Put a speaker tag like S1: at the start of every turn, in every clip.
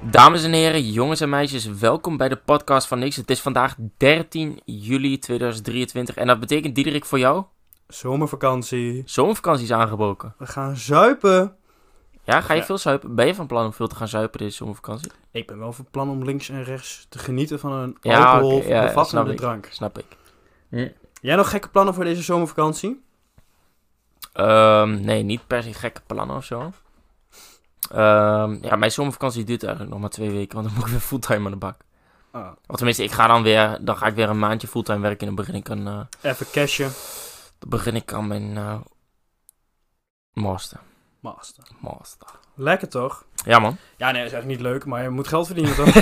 S1: Dames en heren, jongens en meisjes, welkom bij de podcast van Niks. Het is vandaag 13 juli 2023 en dat betekent, Diederik, voor jou,
S2: Zomervakantie.
S1: zomervakantie is aangebroken.
S2: We gaan zuipen.
S1: Ja, ga je
S2: Ja.
S1: veel zuipen? Ben je van plan om veel te gaan zuipen deze zomervakantie?
S2: Ik ben wel van plan om links en rechts te genieten van een
S1: Ja,
S2: alcohol
S1: oké, ja, snap
S2: bevattende
S1: ik.
S2: drank.
S1: Snap ik.
S2: Jij nog gekke plannen voor deze zomervakantie?
S1: Ehm, nee, niet per se gekke plannen of zo. Ehm, ja, mijn zomervakantie duurt eigenlijk nog maar twee weken, want dan moet ik weer fulltime aan de bak.
S2: Ah,
S1: Want tenminste, ik ga dan weer, dan ga ik weer een maandje fulltime werken en dan begin ik aan, eh,
S2: even cashen.
S1: dan begin ik aan mijn eh, master.
S2: Master.
S1: Master.
S2: Lekker toch?
S1: Ja man.
S2: Ja, nee, dat is eigenlijk niet leuk, maar je moet geld verdienen toch?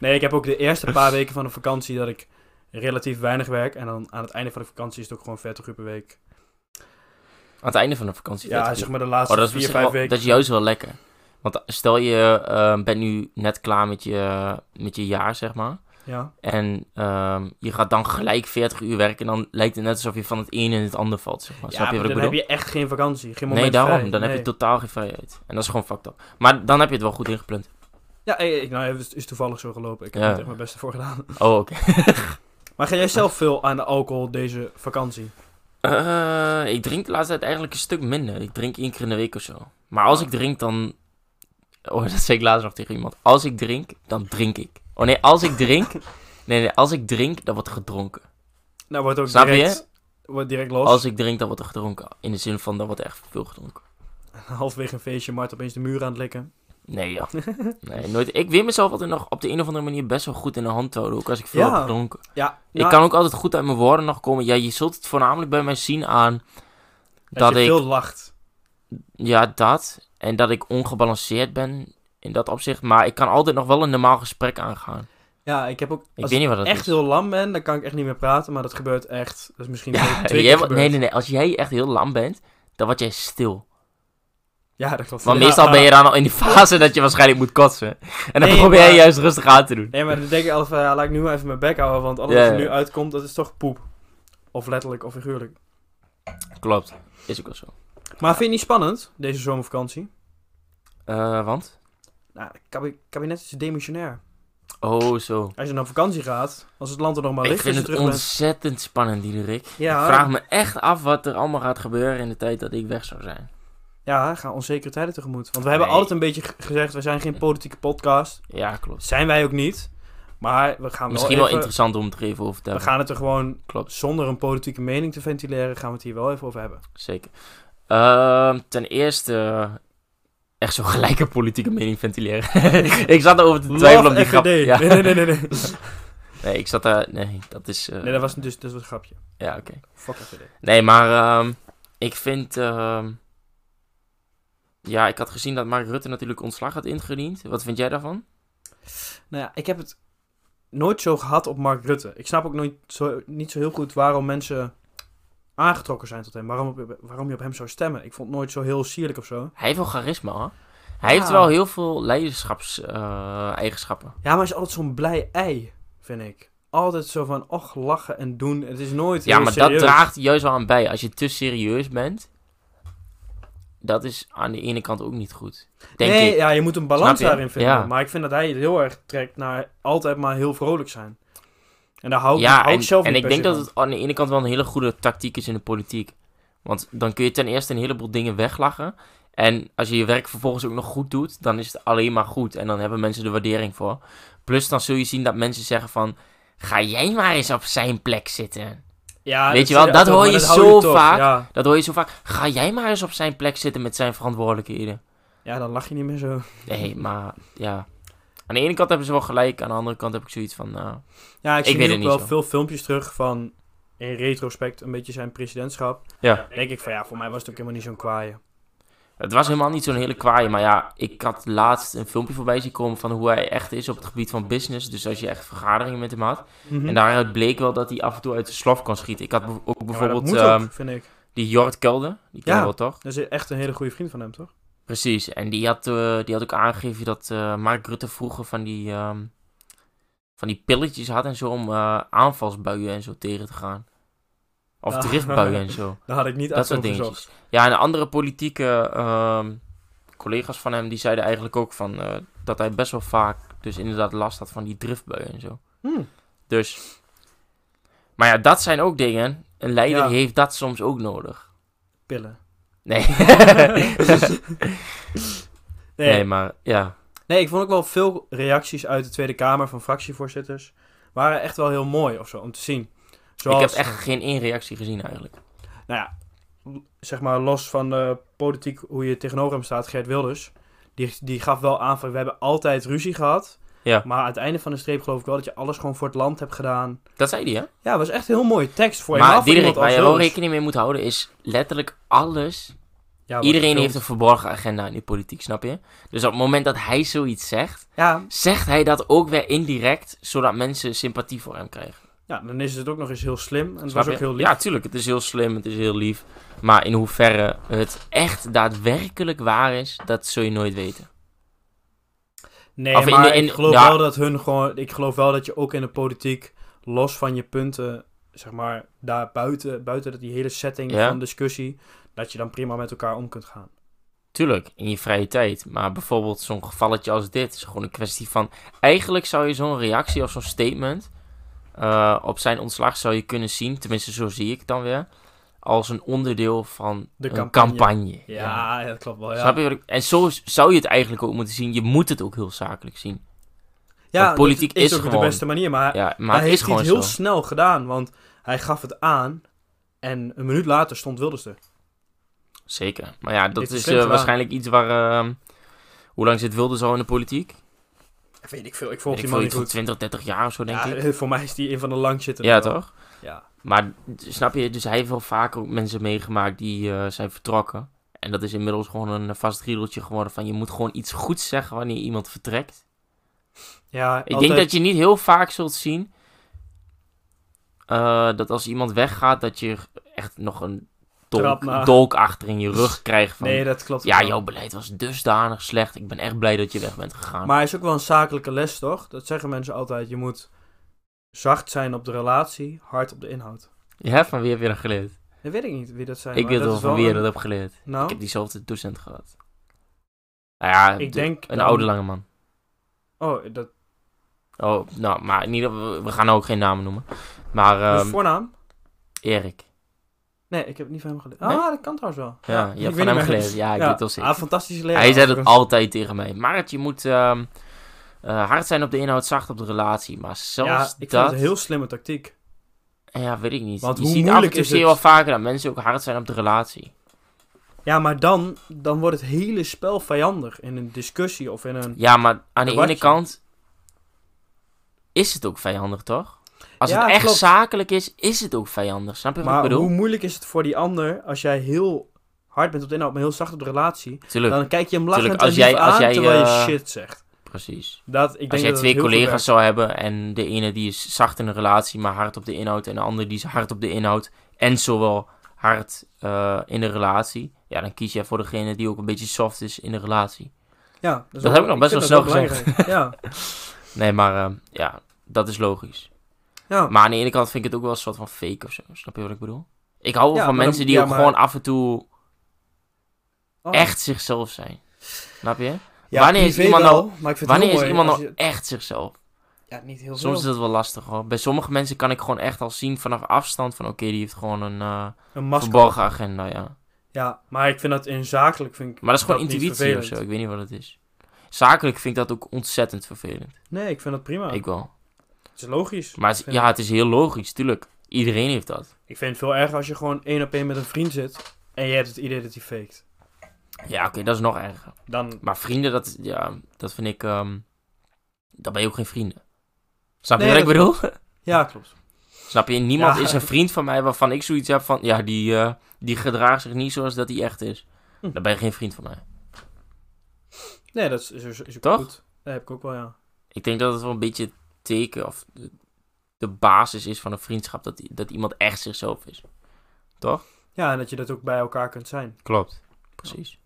S2: nee, ik heb ook de eerste paar weken van de vakantie dat ik relatief weinig werk. En dan aan het einde van de vakantie is het ook gewoon 40 uur per week.
S1: Aan het einde van de vakantie. weet
S2: Ja,
S1: ik
S2: zeg
S1: niet.
S2: maar de
S1: oh,
S2: laatste
S1: dat is,
S2: vier,
S1: misschien
S2: vijf
S1: wel-
S2: weken.
S1: dat is juist wel lekker. Want stel je eh, bent nu net klaar met je, met je jaar, zeg maar.
S2: Ja.
S1: Oh, En ehm, je gaat dan gelijk 40 uur werken. En dan lijkt het net alsof je van het ene in het ander valt. Zeg maar. Snap
S2: ja,
S1: je wat ik
S2: dan
S1: bedoel?
S2: heb je echt geen vakantie. Geen moment
S1: nee, daarom.
S2: vrij.
S1: Dan heb
S2: Nee.
S1: je totaal geen vrijheid. En dat is gewoon fucked up. Maar dan heb je het wel goed ingepland.
S2: Ja, ik, nou, het is toevallig zo gelopen. Ik heb
S1: Ja.
S2: er echt mijn best voor gedaan.
S1: Oh, oké.
S2: Maar ga jij zelf veel aan de alcohol deze vakantie?
S1: Eh, ik drink de laatste tijd eigenlijk een stuk minder. Ik drink één keer in de week of zo. Maar als ik drink, dan... Oh, dat zei ik laatst nog tegen iemand. Als ik drink, dan drink ik. Oh nee, als ik drink... Nee, nee, als ik drink, dan wordt er gedronken.
S2: Nou, wordt ook
S1: Snap je?
S2: direct, Wordt direct los.
S1: Als ik drink, dan wordt er gedronken. In de zin van, dan wordt er echt veel gedronken.
S2: Halfwege een feestje, Mart opeens de muur aan het likken.
S1: Nee, ja. Nee, nooit. Ik weet mezelf altijd nog op de een of andere manier best wel goed in de hand te houden. Ook als ik veel
S2: Ja.
S1: heb gedronken.
S2: Ja,
S1: ik kan ook altijd goed uit mijn woorden nog komen. Ja, je zult het voornamelijk bij mij zien aan...
S2: dat
S1: Dat
S2: je
S1: ik
S2: veel lacht.
S1: Ja, dat. En dat ik ongebalanceerd ben in dat opzicht. Maar ik kan altijd nog wel een normaal gesprek aangaan.
S2: Ja, ik heb ook...
S1: Ik
S2: als
S1: weet niet wat
S2: ik
S1: dat
S2: echt
S1: is.
S2: heel lam ben, dan kan ik echt niet meer praten. Maar dat gebeurt echt. Dat is misschien twee, twee
S1: Jij
S2: keer
S1: wordt-
S2: gebeurd.
S1: nee, nee, nee. Als jij echt heel lam bent, dan word jij stil.
S2: Ja, dat klopt.
S1: Want
S2: Ja,
S1: meestal
S2: ja.
S1: ben je dan al in die fase dat je waarschijnlijk moet kotsen. En dan
S2: Nee,
S1: probeer je
S2: maar-
S1: juist rustig aan te doen.
S2: Nee, maar dan denk ik altijd van, ja, laat ik nu maar even mijn bek houden. Want alles
S1: Ja,
S2: wat er
S1: ja.
S2: nu uitkomt, dat is toch poep. Of letterlijk of figuurlijk.
S1: Klopt. Is ook wel zo.
S2: Maar vind je het niet spannend, deze zomervakantie?
S1: Eh, want?
S2: Nou, het kabi- kabinet is demissionair.
S1: Oh, zo.
S2: Als je dan op vakantie gaat, als het land er nog maar
S1: Ik
S2: ligt, als
S1: vind
S2: je
S1: het
S2: terug bent.
S1: ontzettend spannend, Diederik.
S2: Ja,
S1: Ik vraag me echt af wat er allemaal gaat gebeuren in de tijd dat ik weg zou zijn.
S2: Ja, gaan onzekere tijden tegemoet. Want we hebben
S1: Nee.
S2: altijd een beetje g- gezegd, we zijn geen politieke podcast.
S1: Ja, klopt.
S2: Zijn wij ook niet. Maar we gaan
S1: Misschien wel
S2: even-
S1: interessant om het er even over te
S2: We
S1: hebben.
S2: gaan het er gewoon,
S1: Klopt.
S2: zonder een politieke mening te ventileren, gaan we het hier wel even over hebben.
S1: Zeker. Ehm, ten eerste, echt zo gelijke politieke mening ventileren. ik zat erover te twijfelen om die grap.
S2: Nee,
S1: Ja.
S2: nee, nee, nee, nee.
S1: Nee, ik zat daar. Nee, dat is. eh,
S2: Nee, dat was dus dat was een grapje.
S1: Ja, oké.
S2: Fuck FVD.
S1: Nee, maar ehm, ik vind. ehm, ja, ik had gezien dat Mark Rutte natuurlijk ontslag had ingediend. Wat vind jij daarvan?
S2: Nou ja, ik heb het nooit zo gehad op Mark Rutte. Ik snap ook nooit zo, niet zo heel goed waarom mensen aangetrokken zijn tot hem. Waarom, op- waarom je op hem zou stemmen. Ik vond het nooit zo heel sierlijk of zo.
S1: Hij heeft wel charisma, hoor. Hij
S2: Ja.
S1: heeft wel heel veel eh, leiderschapseigenschappen.
S2: Ja, maar hij is altijd zo'n blij ei, vind ik. Altijd zo van, och, lachen en doen. Het is nooit
S1: ja,
S2: heel
S1: maar
S2: serieus.
S1: dat draagt juist wel aan bij. Als je te serieus bent, dat is aan de ene kant ook niet goed. Denk
S2: nee,
S1: ik.
S2: ja, je moet een balans
S1: Snap je?
S2: daarin vinden.
S1: Ja.
S2: Maar ik vind dat hij het heel erg trekt naar altijd maar heel vrolijk zijn. En daar hou ik, hou
S1: en,
S2: ik zelf
S1: en
S2: niet
S1: ik denk
S2: per
S1: dat
S2: se
S1: het aan de ene kant wel een hele goede tactiek is in de politiek. Want dan kun je ten eerste een heleboel dingen weglachen. En als je je werk vervolgens ook nog goed doet, dan is het alleen maar goed. En dan hebben mensen de waardering voor. Plus dan zul je zien dat mensen zeggen van... Ga jij maar eens op zijn plek zitten.
S2: van. Ja,
S1: weet je
S2: zei
S1: wel,
S2: hij
S1: dat
S2: altijd,
S1: hoor
S2: maar
S1: je
S2: hou
S1: zo
S2: toch.
S1: vaak.
S2: Ja.
S1: Dat hoor je zo vaak. Ga jij maar eens op zijn plek zitten met zijn verantwoordelijkheden.
S2: ja, dan lach je niet meer zo.
S1: Nee, maar ja. Aan de ene kant hebben ze wel gelijk. Aan de andere kant heb ik zoiets van... nou,
S2: Ja, ik
S1: Ik
S2: zie
S1: weet het
S2: nu ook
S1: niet
S2: wel
S1: zo.
S2: veel filmpjes terug van, in retrospect, een beetje zijn presidentschap.
S1: Ja.
S2: denk ik van, ja, voor mij was het ook helemaal niet zo'n kwaaie.
S1: Het was helemaal niet zo'n hele kwaaie, maar ja, ik had laatst een filmpje voorbij zien komen van hoe hij echt is op het gebied van business. Dus als je echt vergaderingen met hem had.
S2: Mhm.
S1: En daaruit bleek wel dat hij af en toe uit de slof kan schieten. Ik had bev- ook
S2: Ja, maar dat
S1: bijvoorbeeld
S2: moet ook,
S1: ehm,
S2: vind ik.
S1: die Jort Kelder, die ken je
S2: Ja.
S1: wel toch?
S2: Dat is echt een hele goede vriend van hem, toch?
S1: Precies, en die had, eh, die had ook aangegeven dat eh, Mark Rutte vroeger van die, ehm, van die pilletjes had en zo om eh, aanvalsbuien en zo tegen te gaan. Of
S2: Ja.
S1: driftbuien en zo.
S2: Daar had ik niet
S1: Dat
S2: uit
S1: soort
S2: opgezocht.
S1: dingetjes. Ja, en andere politieke ehm, collega's van hem, die zeiden eigenlijk ook van, eh, dat hij best wel vaak dus inderdaad last had van die driftbuien en zo.
S2: Hmm.
S1: Dus, maar ja, dat zijn ook dingen. Een leider
S2: Ja.
S1: heeft dat soms ook nodig.
S2: Pillen.
S1: Nee.
S2: Nee.
S1: nee,
S2: nee.
S1: maar ja.
S2: ik vond ook wel veel reacties uit de Tweede Kamer van fractievoorzitters. Waren echt wel heel mooi of zo om te zien. Zoals,
S1: Ik heb echt geen één reactie gezien eigenlijk.
S2: Nou ja, zeg maar los van de politiek hoe je tegenover hem staat, Geert Wilders. Die, die gaf wel aan van we hebben altijd ruzie gehad.
S1: Ja.
S2: Maar aan het einde van de streep geloof ik wel dat je alles gewoon voor het land hebt gedaan.
S1: Dat zei hij, hè?
S2: Ja, was echt een heel mooie tekst voor helemaal
S1: maar
S2: voor
S1: Diederik,
S2: iemand
S1: waar
S2: als
S1: je wel
S2: Wilders.
S1: rekening mee moet houden is letterlijk alles.
S2: Ja, wat
S1: Iedereen
S2: gefilmd.
S1: heeft een verborgen agenda in die politiek, snap je? Dus op het moment dat hij zoiets zegt,
S2: Ja,
S1: zegt hij dat ook weer indirect, zodat mensen sympathie voor hem krijgen.
S2: ja, dan is het ook nog eens heel slim. En het
S1: Snap
S2: was ook
S1: je?
S2: heel lief.
S1: Ja, tuurlijk, het is heel slim, het is heel lief. Maar in hoeverre het echt daadwerkelijk waar is, dat zul je nooit weten.
S2: Nee,
S1: Of in
S2: maar
S1: de- in-
S2: ik geloof
S1: ja.
S2: wel dat hun gewoon... Ik geloof wel dat je ook in de politiek, los van je punten, zeg maar, daar buiten, buiten dat die hele setting
S1: Ja.
S2: van discussie, dat je dan prima met elkaar om kunt gaan.
S1: Tuurlijk, in je vrije tijd. Maar bijvoorbeeld zo'n gevalletje als dit is gewoon een kwestie van... Eigenlijk zou je zo'n reactie of zo'n statement eh, op zijn ontslag zou je kunnen zien... Tenminste, zo zie ik het dan weer. Als een onderdeel van
S2: De
S1: een
S2: campagne.
S1: campagne.
S2: Ja, dat klopt wel, ja.
S1: Snap je wat ik- En zo zou je het eigenlijk ook moeten zien. Je moet het ook heel zakelijk zien.
S2: ja,
S1: Want politiek
S2: dat is,
S1: is
S2: ook
S1: gewoon-
S2: de beste manier, maar,
S1: Ja, maar
S2: maar hij
S1: het is
S2: heeft
S1: gewoon
S2: het heel
S1: zo.
S2: snel gedaan, want hij gaf het aan en een minuut later stond Wilders er.
S1: Zeker. Maar ja, dat
S2: heeft het
S1: is
S2: slim
S1: eh,
S2: gedaan.
S1: waarschijnlijk iets waar... eh, hoe lang zit Wilders al in de politiek?
S2: Weet ik veel, ik volg
S1: Weet Ik veel,
S2: die man niet
S1: iets van
S2: goed.
S1: 20, 30 jaar of zo, denk
S2: Ja,
S1: ik.
S2: Voor mij is die een van de langzittenden.
S1: Ja,
S2: wel.
S1: toch?
S2: Ja.
S1: Maar snap je, dus hij heeft wel vaker ook mensen meegemaakt die eh, zijn vertrokken. En dat is inmiddels gewoon een vast riedeltje geworden van je moet gewoon iets goeds zeggen wanneer iemand vertrekt.
S2: ja
S1: Ik denk dat je niet heel vaak zult zien eh, dat als iemand weggaat dat je echt nog een
S2: Trap
S1: dolk,
S2: na.
S1: dolk achter in je rug krijgt van...
S2: Nee, dat klopt
S1: ja,
S2: wel.
S1: jouw beleid was dusdanig slecht. Ik ben echt blij dat je weg bent gegaan.
S2: Maar hij is ook wel een zakelijke les, toch? Dat zeggen mensen altijd. Je moet zacht zijn op de relatie, hard op de inhoud.
S1: Je hebt van wie heb je dat geleerd?
S2: Dat weet ik niet wie dat zijn.
S1: ik
S2: maar
S1: weet
S2: dat
S1: wel
S2: is
S1: van wie je
S2: een-
S1: dat hebt geleerd. Ik
S2: Nou,
S1: heb diezelfde docent gehad. Nou ja,
S2: Ik
S1: de-
S2: denk
S1: een
S2: dan-
S1: oude lange man.
S2: oh, dat
S1: Oh, nou, maar in ieder geval, we gaan ook geen namen noemen. Maar
S2: dus
S1: ehm,
S2: voornaam?
S1: Erik.
S2: Nee, ik heb het niet van hem geleerd.
S1: Nee?
S2: Ah, dat kan trouwens wel.
S1: Ja,
S2: ik
S1: je hebt
S2: weet
S1: van hem
S2: niet meer.
S1: geleerd. Ja, ik weet het wel zeker.
S2: Ah, fantastische leraar.
S1: Hij zei dat
S2: overigens.
S1: altijd tegen mij. Maart, je moet ehm, eh, hard zijn op de inhoud, zacht op de relatie. Maar
S2: Ja,
S1: zelfs
S2: ik vind
S1: dat...
S2: het een heel slimme tactiek.
S1: Ja, weet ik niet.
S2: Want
S1: je
S2: hoe
S1: ziet af en
S2: moeilijk
S1: toe
S2: is
S1: zie je wel
S2: het?
S1: vaker dat mensen ook hard zijn op de relatie.
S2: Ja, maar dan, dan wordt het hele spel vijandig in een discussie of in een...
S1: Ja, maar aan de
S2: Wat
S1: ene
S2: je-
S1: kant is het ook vijandig, toch? Als
S2: Ja,
S1: het echt
S2: klopt.
S1: zakelijk is, is het ook vijandig. Snap je wat ik
S2: Maar
S1: bedoel?
S2: hoe moeilijk is het voor die ander als jij heel hard bent op de inhoud, maar heel zacht op de relatie?
S1: Tuurlijk,
S2: Dan kijk je hem lachend
S1: Tuurlijk,
S2: en
S1: als jij-
S2: lief
S1: als
S2: aan
S1: jij,
S2: terwijl je
S1: eh,
S2: shit zegt.
S1: precies.
S2: Dat, ik
S1: Als
S2: denk
S1: jij
S2: dat
S1: twee
S2: het heel goed
S1: collega's zou hebben en de ene die is zacht in een relatie, maar hard op de inhoud, en de andere die is hard op de inhoud en zowel hard eh, in de relatie, ja, dan kies jij voor degene die ook een beetje soft is in de relatie.
S2: werkt. Ja, dat is
S1: Dat
S2: wel-
S1: heb ik nog best
S2: vind
S1: wel
S2: dat
S1: snel
S2: belangrijk. ja,
S1: Nee, maar eh, ja, dat is logisch.
S2: ja.
S1: Maar aan de ene kant vind ik het ook wel een soort van fake of zo. Snap je wat ik bedoel? Ik hou wel
S2: Ja,
S1: van
S2: maar dan-
S1: mensen die
S2: ja,
S1: ook
S2: maar-
S1: gewoon af en toe
S2: Oh.
S1: echt zichzelf zijn. Snap je?
S2: Ja,
S1: wanneer is
S2: privé
S1: iemand
S2: wel,
S1: nou-
S2: maar ik vind het
S1: Wanneer
S2: heel
S1: is
S2: mooi
S1: iemand
S2: als
S1: nou
S2: je-
S1: echt zichzelf?
S2: Ja, niet heel
S1: Soms is
S2: veel.
S1: dat wel lastig hoor. Bij sommige mensen kan ik gewoon echt al zien vanaf afstand van oké, die heeft gewoon een eh,
S2: Een masker.
S1: verborgen agenda, ja.
S2: Ja, maar ik vind dat in zakelijk vind ik
S1: Maar dat is gewoon
S2: niet
S1: intuïtie of
S2: vervelend.
S1: zo, ik weet niet wat het is. Zakelijk vind ik dat ook ontzettend vervelend.
S2: Nee, ik vind dat prima.
S1: Ik wel.
S2: Het is logisch.
S1: Maar het is-
S2: Vind
S1: ja,
S2: ik.
S1: het is heel logisch, tuurlijk. Iedereen heeft dat.
S2: Ik vind het veel erger als je gewoon één op één met een vriend zit en je hebt het idee dat hij faked.
S1: Ja, oké, dat is nog erger.
S2: Dan,
S1: Maar vrienden, dat, ja, dat vind ik... ehm dan ben je ook geen vrienden. Snap je
S2: Nee,
S1: wat ik
S2: dat
S1: bedoel?
S2: ja, klopt.
S1: Snap je? Niemand
S2: Ja.
S1: is een vriend van mij waarvan ik zoiets heb van... Ja, die, eh, die gedraagt zich niet zoals dat hij echt is.
S2: Hm.
S1: Dan ben je geen vriend van mij.
S2: Nee, dat is, is, is ook
S1: Toch?
S2: goed. Dat heb ik ook wel, ja.
S1: Ik denk dat het wel een beetje het teken of de, de basis is van een vriendschap. Dat, i- dat iemand echt zichzelf is.
S2: Ja, en dat je dat ook bij elkaar kunt zijn.
S1: Klopt. Precies.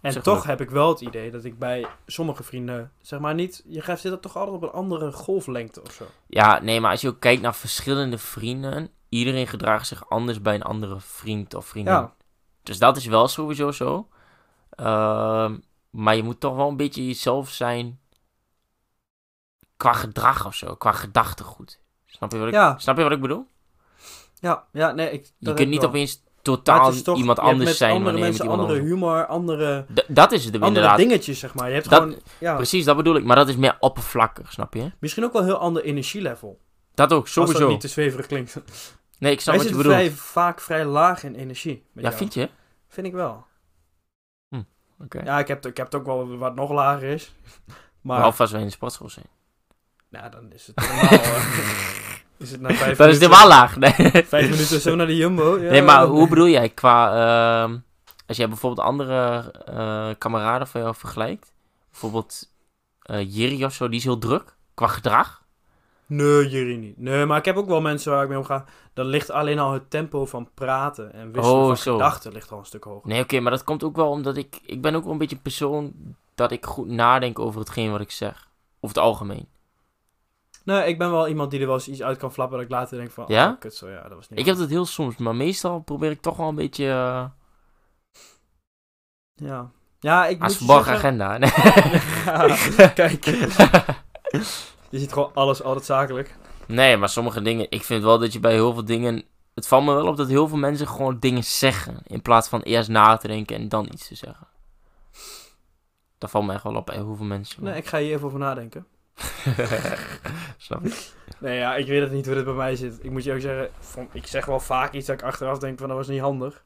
S2: En
S1: Zeg
S2: toch
S1: maar.
S2: heb ik wel het idee dat ik bij sommige vrienden, zeg maar niet, je gaat- zit dat toch altijd op een andere golflengte of zo.
S1: Ja, nee, maar als je ook kijkt naar verschillende vrienden. Iedereen gedraagt zich anders bij een andere vriend of vriendin.
S2: Ja,
S1: Dus dat is wel sowieso zo. Eh, Ehm, maar je moet toch wel een beetje jezelf zijn. Qua gedrag of zo, qua gedachtegoed. Snap je wat ik,
S2: Ja.
S1: snap je wat ik bedoel?
S2: Ja, ja, nee, ik... dat
S1: Je
S2: heb ik
S1: kunt niet
S2: wel.
S1: opeens
S2: Maar
S1: totaal
S2: het is toch-
S1: iemand
S2: je hebt
S1: anders
S2: met
S1: zijn
S2: andere
S1: wanneer je met
S2: mensen,
S1: iemand anders...
S2: andere humor, andere,
S1: D- dat is het hem
S2: andere
S1: inderdaad.
S2: dingetjes, zeg maar. Je hebt
S1: Dat-
S2: gewoon... Ja,
S1: Precies, dat bedoel ik. Maar dat is meer oppervlakkig, snap je?
S2: misschien ook wel een heel ander energielevel.
S1: Dat ook,
S2: Als dat
S1: sowieso.
S2: niet te zweverig klinkt.
S1: Nee, ik snap
S2: Wij
S1: wat je
S2: zitten
S1: bedoelt.
S2: vrij, vaak vrij laag in energie. met
S1: Ja,
S2: jou.
S1: vind je?
S2: Vind ik wel.
S1: Hm, oké.
S2: Ja, ik heb, het- ik heb het ook wel wat nog lager is. Maar
S1: Behalve als we in de sportschool zijn.
S2: nou, dan is het helemaal... eh, is het na vijf
S1: Dat is
S2: minuten,
S1: helemaal laag. Nee,
S2: Vijf minuten zo naar de Jumbo. Ja,
S1: nee maar
S2: dan-
S1: hoe bedoel jij qua... ehm, als jij bijvoorbeeld andere eh, kameraden van jou vergelijkt. Bijvoorbeeld eh Jiri of zo, die is heel druk. Qua gedrag.
S2: Nee, Jiri niet. Nee, maar ik heb ook wel mensen waar ik mee omga. Dan ligt alleen al het tempo van praten en wisselen
S1: Oh,
S2: van
S1: zo.
S2: gedachten ligt al een stuk hoger.
S1: Nee, oké, maar dat komt ook wel omdat ik... Ik ben ook wel een beetje een persoon dat ik goed nadenk over hetgeen wat ik zeg. Over het algemeen.
S2: Nee, ik ben wel iemand die er wel eens iets uit kan flappen dat ik later denk van...
S1: Ja?
S2: Oh, kut, zo, ja, dat was niet
S1: Ik heb dat heel soms, maar meestal probeer ik toch wel een beetje... eh,
S2: Ja. Ja, ik
S1: als
S2: moet je
S1: verborgen
S2: zeggen-
S1: agenda. Nee.
S2: Ja, Kijk, je ziet gewoon alles altijd zakelijk.
S1: nee, maar sommige dingen... Ik vind wel dat je bij heel veel dingen... Het valt me wel op dat heel veel mensen gewoon dingen zeggen. In plaats van eerst na te denken en dan iets te zeggen. Dat valt me echt wel op bij hoeveel mensen.
S2: Nee, ik ga hier even over nadenken.
S1: Snap ik.
S2: Nee, ja, ik weet het niet hoe dit bij mij zit. Ik moet je ook zeggen, van- ik zeg wel vaak iets dat ik achteraf denk van dat was niet handig.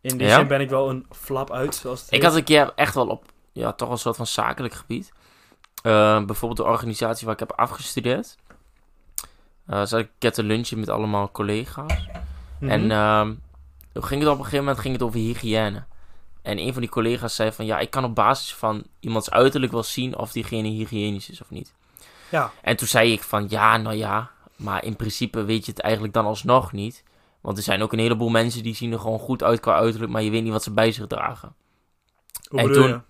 S2: In die
S1: Ja?
S2: zin ben ik wel een flap uit, zoals het
S1: Ik
S2: heet.
S1: had een keer echt wel op... Ja, toch wel een soort van zakelijk gebied. Eh, bijvoorbeeld de organisatie waar ik heb afgestudeerd. Eh zat ik een lunchje met allemaal collega's.
S2: Mhm.
S1: En ehm, toen ging het op een gegeven moment ging het over hygiëne. En een van die collega's zei van ja, ik kan op basis van iemands uiterlijk wel zien of diegene hygiënisch is of niet.
S2: Ja.
S1: En toen zei ik van ja, nou ja, maar in principe weet je het eigenlijk dan alsnog niet. Want er zijn ook een heleboel mensen die zien er gewoon goed uit qua uiterlijk, maar je weet niet wat ze bij zich dragen.
S2: Hoe
S1: en
S2: bedoel
S1: toen-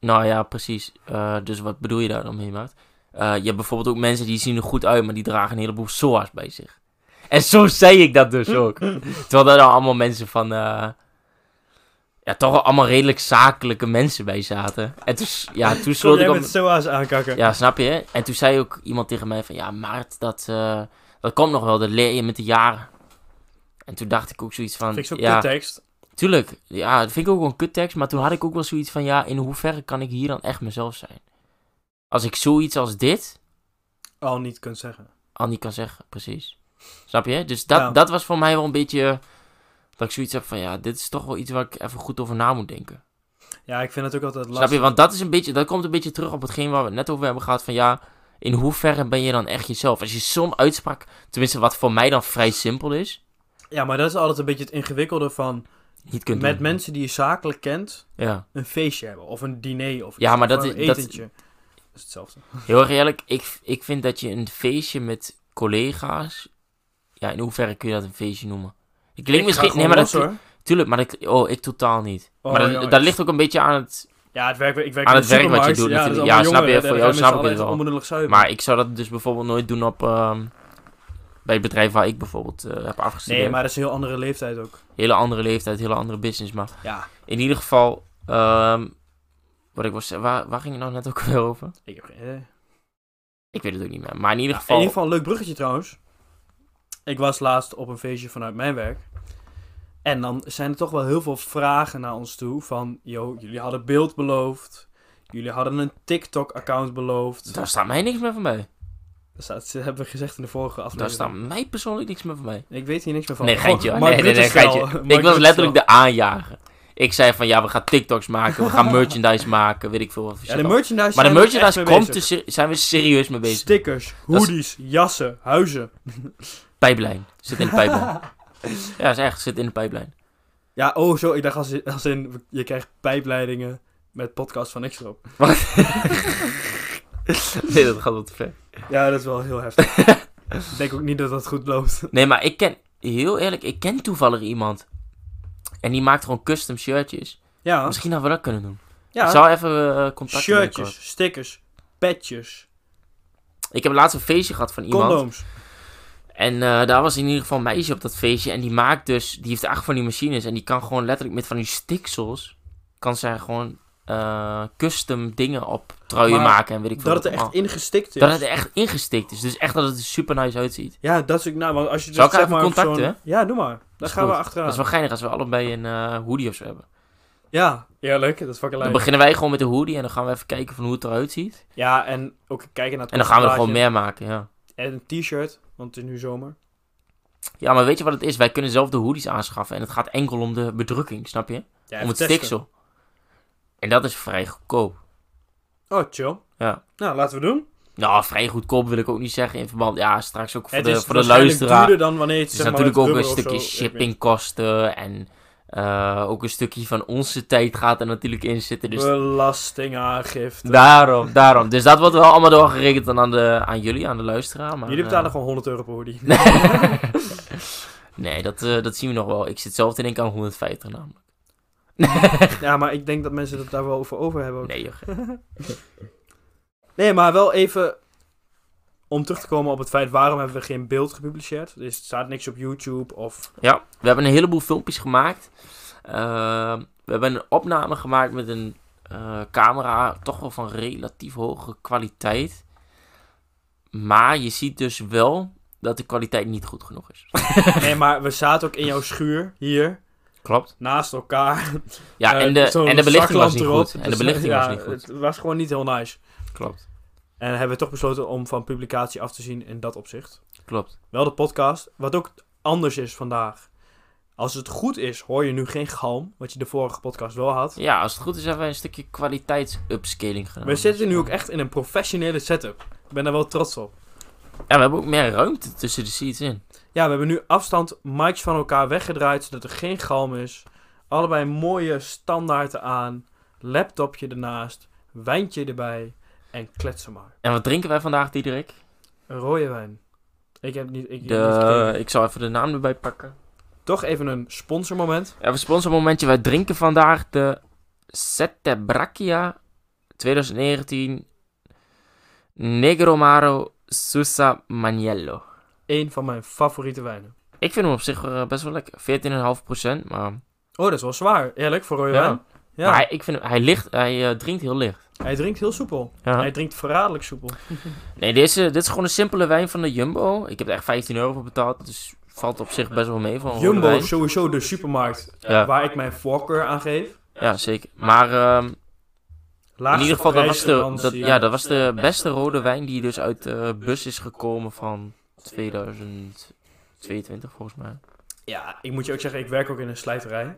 S1: Nou ja, precies. Eh, dus wat bedoel je daar dan mee, maat? Eh, je hebt bijvoorbeeld ook mensen die zien er goed uit, maar die dragen een heleboel soa's bij zich. En zo zei ik dat dus ook. Terwijl daar dan allemaal mensen van... eh, ja, toch wel allemaal redelijk zakelijke mensen bij zaten. En toen, s- ja, toen
S2: je? Kom
S1: sloot
S2: jij
S1: ik op...
S2: met SOA's aankakken?
S1: Ja, snap je? En toen zei ook iemand tegen mij van... Ja, Maart, dat, eh, dat komt nog wel. Dat leer je met de jaren. En toen dacht ik ook zoiets van...
S2: Vind ik zo'n
S1: ja,
S2: tekst.
S1: Tuurlijk, ja, dat vind ik ook wel een kuttekst, maar toen had ik ook wel zoiets van, ja, in hoeverre kan ik hier dan echt mezelf zijn? Als ik zoiets als dit
S2: Al niet kunt zeggen.
S1: al niet kan zeggen, precies. Snap je? Dus dat,
S2: Ja.
S1: dat was voor mij wel een beetje, eh, dat ik zoiets heb van, ja, dit is toch wel iets waar ik even goed over na moet denken.
S2: Ja, ik vind het ook altijd lastig.
S1: Snap je? Want dat is een beetje, dat komt een beetje terug op hetgeen waar we het net over hebben gehad, van ja, in hoeverre ben je dan echt jezelf? Als je zo'n uitspraak, tenminste wat voor mij dan vrij simpel is,
S2: Ja, maar dat is altijd een beetje het ingewikkelde van...
S1: niet kunt
S2: met
S1: doen.
S2: mensen die je zakelijk kent,
S1: Ja.
S2: een feestje hebben. Of een diner, of
S1: Ja,
S2: iets,
S1: maar
S2: of
S1: dat
S2: een
S1: is- dat-
S2: etentje. Dat is hetzelfde.
S1: Heel erg eerlijk, ik, ik vind dat je een feestje met collega's. Ja, in hoeverre kun je dat een feestje noemen? Ik
S2: Ik
S1: klink
S2: ga
S1: misschien. Nee,
S2: gewoon
S1: maar
S2: los,
S1: dat.
S2: hoor.
S1: Tuurlijk, maar dat, oh, ik totaal niet.
S2: Oh,
S1: maar
S2: jongens.
S1: dat, dat ligt ook een beetje aan het.
S2: Ja, het werk, ik werk
S1: Aan
S2: in
S1: het
S2: de
S1: werk wat je
S2: supermarkt.
S1: doet
S2: ja, dat
S1: natuurlijk.
S2: is allemaal
S1: Ja, snap
S2: jongeren,
S1: je, voor
S2: daar
S1: jou
S2: gaan
S1: snap ik
S2: mensen
S1: het wel.
S2: altijd onbenullig zuipen.
S1: Maar ik zou dat dus bijvoorbeeld nooit doen op. ehm, bij het bedrijf waar ik bijvoorbeeld eh, heb afgestudeerd.
S2: Nee, maar dat is een heel andere leeftijd ook.
S1: Hele andere leeftijd, hele andere business. Maar
S2: Ja,
S1: in ieder geval. ehm, wat ik was. Waar, waar ging het nou net ook weer over?
S2: ik heb geen idee. In
S1: Ik weet het ook niet meer. Maar in ieder geval.
S2: ieder geval een leuk bruggetje trouwens. Ik was laatst op een feestje vanuit mijn werk. En dan zijn er toch wel heel veel vragen naar ons toe. Van, yo, jullie hadden beeld beloofd. Jullie hadden een TikTok-account beloofd.
S1: daar staat mij niks meer van bij.
S2: Dat, staat, dat hebben we gezegd in de vorige aflevering.
S1: Daar staat mij persoonlijk niks meer van bij.
S2: Ik weet hier niks meer van.
S1: Nee, geintje.
S2: Goh,
S1: hoor. nee,
S2: Mark
S1: nee, nee,
S2: Rutte stijl.
S1: geintje.
S2: Mark
S1: Ik was
S2: Rutte
S1: letterlijk
S2: stijl.
S1: de aanjager. Ik zei van, ja, we gaan TikToks maken, we gaan merchandise maken, weet ik veel wat. voor
S2: Ja,
S1: shit
S2: de
S1: al.
S2: merchandise
S1: maar de
S2: zijn we echt
S1: merchandise
S2: mee
S1: komt,
S2: bezig.
S1: dus ser- zijn we serieus mee bezig.
S2: Stickers,
S1: Dat is-
S2: hoodies, jassen, huizen.
S1: Pijplijn. Zit in de pijplijn. ja, is echt, zit in de pijplijn.
S2: Ja, oh zo, ik dacht als in, als in je krijgt pijpleidingen met podcast van niks erop.
S1: Nee, dat gaat wel te ver.
S2: Ja, dat is wel heel heftig. ik denk ook niet dat dat goed loopt.
S1: Nee, maar ik ken, heel eerlijk, ik ken toevallig iemand. En die maakt gewoon custom shirtjes.
S2: Ja,
S1: Misschien hadden we dat kunnen doen.
S2: ja.
S1: Ik zou even eh, contact binnenkort.
S2: shirtjes, stickers, petjes,
S1: Ik heb laatst een feestje gehad van iemand.
S2: condooms.
S1: En eh, daar was in ieder geval een meisje op dat feestje. En die maakt dus, die heeft acht van die machines. En die kan gewoon letterlijk met van die stiksels. kan zij gewoon eh, custom dingen op truien
S2: Maar
S1: maken en weet ik veel.
S2: Dat het er echt
S1: allemaal.
S2: ingestikt is.
S1: dat het er echt ingestikt is. Dus echt dat het er super nice uitziet.
S2: Ja, dat is ook... Nou, want als je
S1: Zal
S2: dus
S1: ik haar
S2: zeg
S1: even
S2: maar op
S1: contacten,
S2: zo'n- Ja, doe maar. Daar
S1: is
S2: gaan we
S1: goed.
S2: achteraan.
S1: Dat is wel geinig als we allebei een eh, hoodie of zo hebben.
S2: Ja. Eerlijk, dat is fucking
S1: Dan
S2: leuk.
S1: beginnen wij gewoon met de hoodie en dan gaan we even kijken van hoe het eruit ziet.
S2: Ja, en ook kijken naar het
S1: En dan gaan we er
S2: plaatje.
S1: gewoon meer maken, ja.
S2: En een t-shirt, want het is nu zomer.
S1: Ja, maar weet je wat het is? Wij kunnen zelf de hoodies aanschaffen en het gaat enkel om de bedrukking, snap je?
S2: Ja,
S1: om
S2: even
S1: het
S2: testen.
S1: stiksel. En dat is vrij goedkoop.
S2: Oh, chill.
S1: Ja.
S2: Nou, laten we doen.
S1: Nou, vrij goedkoop wil ik ook niet zeggen in verband. Ja, straks ook voor
S2: het
S1: de,
S2: is
S1: voor de
S2: waarschijnlijk
S1: luisteraar.
S2: duurder dan wanneer je het
S1: Het is
S2: zeg maar,
S1: natuurlijk
S2: met
S1: ook een
S2: rubber of
S1: stukje
S2: zo- ik weet niet.
S1: shippingkosten en eh, ook een stukje van onze tijd gaat er natuurlijk in zitten. Dus
S2: Belastingaangifte.
S1: daarom, daarom. Dus dat wordt wel allemaal doorgerekend dan aan, de, aan jullie, aan de luisteraar. Maar,
S2: Jullie
S1: eh,
S2: betalen gewoon 100 euro per hoodie.
S1: nee, dat, eh, dat zien we nog wel. Ik zit zelf te denken aan 150 namelijk.
S2: ja, maar ik denk dat mensen het daar wel over over hebben. ook.
S1: Nee, joh.
S2: Nee, maar wel even om terug te komen op het feit waarom hebben we geen beeld gepubliceerd. Dus er staat niks op YouTube of...
S1: Ja, we hebben een heleboel filmpjes gemaakt. Eh, we hebben een opname gemaakt met een eh, camera, toch wel van relatief hoge kwaliteit. Maar je ziet dus wel dat de kwaliteit niet goed genoeg is.
S2: nee, maar we zaten ook in jouw schuur hier,
S1: Klopt.
S2: naast elkaar.
S1: Ja,
S2: Eh,
S1: en, de,
S2: zo'n
S1: en de belichting was
S2: zaklamp
S1: niet
S2: erop.
S1: goed. En de
S2: Dus,
S1: belichting
S2: ja,
S1: was niet goed.
S2: Het was gewoon niet heel nice.
S1: Klopt.
S2: En hebben we toch besloten om van publicatie af te zien in dat opzicht.
S1: Klopt.
S2: Wel de podcast, wat ook anders is vandaag. Als het goed is, hoor je nu geen galm, wat je de vorige podcast wel had.
S1: Ja, als het goed is hebben wij een stukje kwaliteitsupscaling gedaan.
S2: We zitten nu ook echt in een professionele setup. Ik ben daar wel trots op.
S1: Ja, we hebben ook meer ruimte tussen de seats in.
S2: Ja, we hebben nu afstand mics van elkaar weggedraaid, zodat er geen galm is. Allebei mooie standaarden aan. Laptopje ernaast, wijntje erbij en kletsen maar.
S1: En wat drinken wij vandaag, Diederik?
S2: Een rode wijn. Ik heb niet... Ik, heb niet
S1: De,
S2: gekeken.
S1: ik zal even de naam erbij pakken.
S2: Toch even een sponsormoment.
S1: Even een sponsormomentje. Wij drinken vandaag de Settebrachia 2019 Negromaro Susa Maniello.
S2: Eén van mijn favoriete wijnen.
S1: Ik vind hem op zich eh, best wel lekker. 14,5%. Maar,
S2: Oh, dat is wel zwaar. Eerlijk, voor rode
S1: Ja.
S2: wijn. Ja.
S1: maar hij, ik vind hem, hij, ligt, hij eh, drinkt heel licht.
S2: Hij drinkt heel soepel.
S1: Ja.
S2: Hij drinkt verraderlijk soepel.
S1: Nee, deze, dit is gewoon een simpele wijn van de Jumbo. Ik heb er echt 15 euro voor betaald. Dus valt op zich best wel mee voor een rode
S2: Jumbo
S1: wijn.
S2: is sowieso de supermarkt
S1: Oh, Ja.
S2: waar ik mijn voorkeur aan geef.
S1: Ja, zeker. Maar ehm, in ieder geval, dat was, de, dat, ja, dat was de beste rode wijn die dus uit de bus is gekomen van 2022 volgens mij.
S2: Ja, ik moet je ook zeggen, ik werk ook in een slijterij.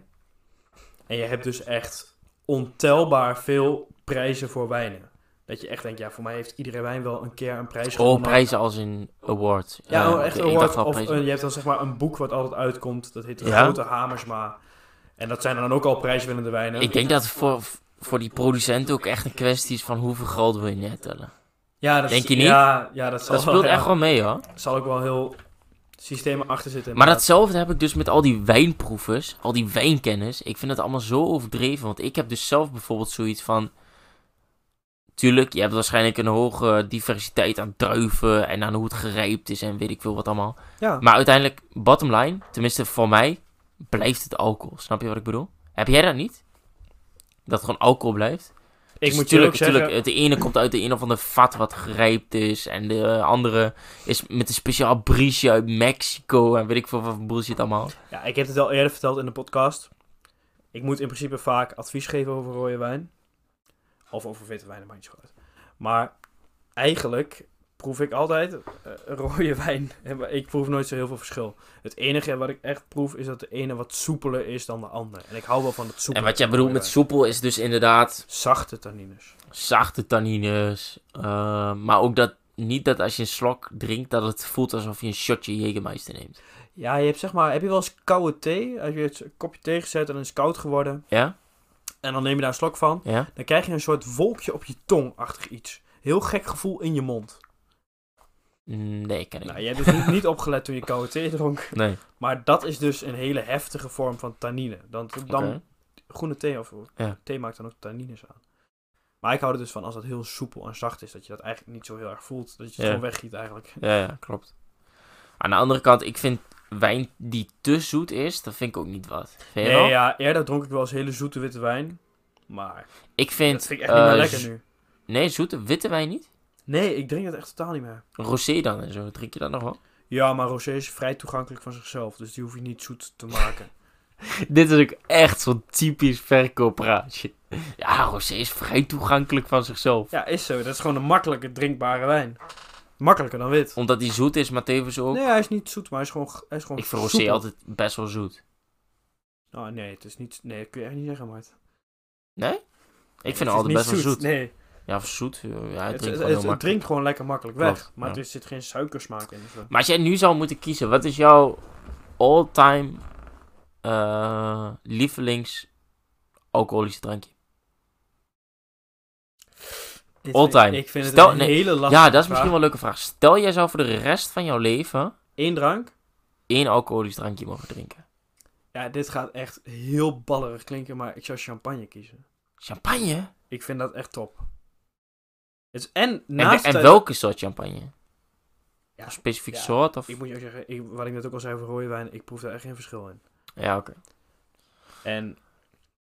S2: En je hebt dus echt ontelbaar veel prijzen voor wijnen. Dat je echt denkt, ja, voor mij heeft iedere wijn wel een keer een prijs
S1: Oh,
S2: gewonnen.
S1: prijzen als in award.
S2: Ja,
S1: Eh,
S2: oh, echt
S1: oké,
S2: een
S1: ik dacht
S2: award.
S1: wel
S2: Of
S1: prijzen.
S2: een, je hebt dan zeg maar een boek wat altijd uitkomt. Dat heet de
S1: Ja?
S2: Grote Hamers maar. En dat zijn dan ook al prijswinnende wijnen.
S1: Ik denk dat het voor, voor die producent ook echt een kwestie is van hoeveel groot wil je nettellen.
S2: ja, dat
S1: denk je niet?
S2: Ja, ja dat, zal
S1: Dat speelt
S2: wel,
S1: echt
S2: ja.
S1: wel mee hoor.
S2: zal ook wel heel systemen achter zitten.
S1: Maar datzelfde heb ik dus met al die wijnproevers, al die wijnkennis. Ik vind het allemaal zo overdreven, want ik heb dus zelf bijvoorbeeld zoiets van... Tuurlijk, je hebt waarschijnlijk een hoge diversiteit aan druiven en aan hoe het gerijpt is en weet ik veel wat allemaal.
S2: Ja.
S1: Maar uiteindelijk, bottom line, tenminste voor mij, blijft het alcohol. Snap je wat ik bedoel? Heb jij dat niet? Dat gewoon alcohol blijft?
S2: ik
S1: Dus
S2: moet je ook
S1: tuurlijk-
S2: zeggen...
S1: tuurlijk, het ene komt uit de een of andere vat wat gerijpt is. En de eh, andere is met een speciaal briesje uit Mexico. En weet ik veel wat voor bullshit allemaal.
S2: Ja, ik heb het al eerder verteld in de podcast. Ik moet in principe vaak advies geven over rode wijn. Of over witte wijn, dat maakt niet zo uit. Maar eigenlijk proef ik altijd eh, rode wijn. En wa- Ik proef nooit zo heel veel verschil. Het enige wat ik echt proef is dat de ene wat soepeler is dan de andere. En ik hou wel van het soepele.
S1: En wat jij
S2: van
S1: bedoelt
S2: rode
S1: met
S2: wijn.
S1: soepel is dus inderdaad
S2: Zachte tannines.
S1: zachte tannines. eh, maar ook dat niet dat als je een slok drinkt, dat het voelt alsof je een shotje Jägermeister neemt.
S2: Ja, je hebt zeg maar... Heb je wel eens koude thee? Als je het een kopje thee gezet en het is koud geworden.
S1: Ja?
S2: En dan neem je daar een slok van.
S1: Ja?
S2: Dan krijg je een soort wolkje op je tong-achtig iets. Heel gek gevoel in je mond.
S1: Mm, Nee, ken ik
S2: Nou,
S1: niet.
S2: je hebt dus niet, niet opgelet toen je koude thee dronk.
S1: Nee.
S2: Maar dat is dus een hele heftige vorm van tannine. Dan, dan
S1: Oké.
S2: groene thee of
S1: Ja.
S2: thee maakt dan ook tannines aan. Maar ik hou er dus van als dat heel soepel en zacht is, dat je dat eigenlijk niet zo heel erg voelt. Dat je het
S1: Ja.
S2: gewoon weggiet eigenlijk.
S1: Ja, ja, klopt. Aan de andere kant, ik vind wijn die te zoet is, dat vind ik ook niet wat. Vind je
S2: Nee,
S1: wel?
S2: ja, eerder dronk ik wel eens hele zoete witte wijn. Maar
S1: Ik
S2: dat
S1: vind...
S2: vind ik echt niet meer
S1: eh,
S2: lekker
S1: z-
S2: nu.
S1: Nee, zoete witte wijn niet.
S2: Nee, ik drink het echt totaal niet meer.
S1: Rosé dan en zo. Drink je dat nog wel?
S2: Ja, maar rosé is vrij toegankelijk van zichzelf. Dus die hoef je niet zoet te maken.
S1: Dit is ook echt zo'n typisch verkooppraatje. Ja, rosé is vrij toegankelijk van zichzelf.
S2: ja, is zo. Dat is gewoon een makkelijke drinkbare wijn. Makkelijker dan wit.
S1: Omdat hij zoet is, maar tevens ook...
S2: Nee, hij is niet zoet, maar hij is gewoon... Hij is gewoon
S1: ik vind rosé
S2: soepel.
S1: altijd best wel zoet.
S2: Nou, nee, het is niet... Nee, dat kun je echt niet zeggen, Mart.
S1: Ik
S2: Het
S1: vind
S2: is
S1: hem altijd
S2: niet
S1: best wel zoet.
S2: Nee,
S1: Ja, of zoet. eh, Ja, hij
S2: het, het,
S1: drinkt
S2: het,
S1: wel heel makkelijk.
S2: drinkt gewoon lekker makkelijk weg.
S1: Klopt,
S2: maar
S1: ja.
S2: er zit geen suikersmaak in. of zo.
S1: Maar als jij nu zou moeten kiezen, wat is jouw all-time eh, lievelings alcoholische drankje?
S2: Dit
S1: All
S2: vind ik-
S1: time.
S2: Ik vind het
S1: Stel-
S2: een
S1: nee.
S2: hele lastige
S1: ja, dat is
S2: vraag.
S1: misschien wel een leuke vraag. Stel jij zou voor de rest van jouw leven
S2: Eén drank.
S1: één alcoholisch drankje mogen drinken.
S2: Ja, dit gaat echt heel ballerig klinken, maar ik zou champagne kiezen.
S1: Champagne?
S2: Ik vind dat echt top. Het is, en
S1: En,
S2: naast...
S1: en
S2: dat-
S1: welke soort champagne?
S2: Ja,
S1: Een specifiek
S2: ja,
S1: soort? Of?
S2: Ik moet je ook zeggen, ik, wat ik net ook al zei over rode wijn, ik proef daar echt geen verschil in.
S1: Ja, oké.
S2: En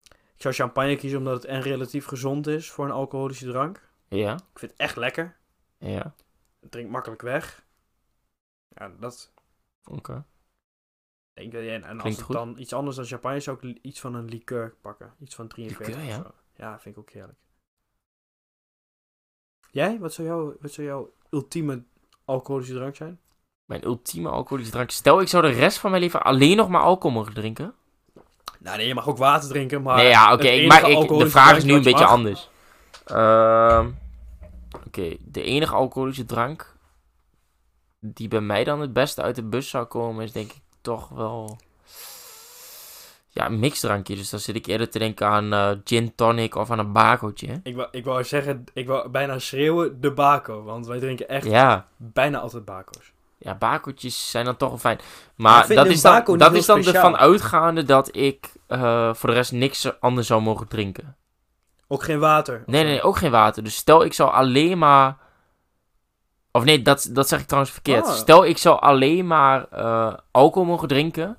S2: ik zou champagne kiezen omdat het en relatief gezond is voor een alcoholische drank.
S1: Ja,
S2: Ik vind het echt lekker.
S1: ja,
S2: Het drinkt makkelijk weg. Ja, dat
S1: oké.
S2: denk ik. En, en als
S1: Klinkt
S2: het
S1: goed.
S2: dan iets anders dan champagne zou ik li- iets van een liqueur pakken. Iets van 43
S1: Liqueur,
S2: of
S1: ja?
S2: zo. Ja, vind ik ook heerlijk. Jij? Wat zou, jouw wat zou jouw ultieme alcoholische drank zijn?
S1: Mijn ultieme alcoholisch drankje. Stel ik zou de rest van mijn leven alleen nog maar alcohol mogen drinken.
S2: Nou nee, je mag ook water drinken, maar...
S1: nee, ja, oké.
S2: het
S1: ik
S2: enige
S1: maar ik, de
S2: alcoholische
S1: vraag is
S2: drankje
S1: nu een
S2: wat je
S1: beetje
S2: mag-
S1: anders. Ehm, oké, de enige alcoholische drank die bij mij dan het beste uit de bus zou komen, is denk ik toch wel. Ja, een mixdrankje. Dus dan zit ik eerder te denken aan eh, gin tonic of aan een bakeltje.
S2: Ik wou, ik wou zeggen, ik wou bijna schreeuwen, de bako. Want wij drinken echt
S1: Ja.
S2: bijna altijd bako's.
S1: ja, bakeltjes zijn dan toch wel fijn.
S2: Maar ik
S1: Maar
S2: vind
S1: dat
S2: een
S1: is dan,
S2: bako niet
S1: dat
S2: heel
S1: is dan ervan
S2: speciaal.
S1: uitgaande dat ik eh, voor de rest niks anders zou mogen drinken.
S2: Ook geen water.
S1: Nee, nee, nee, ook geen water. Dus stel ik zou alleen maar. Of nee, dat, dat zeg ik trouwens verkeerd.
S2: Ah.
S1: Stel ik zou alleen maar eh, alcohol mogen drinken.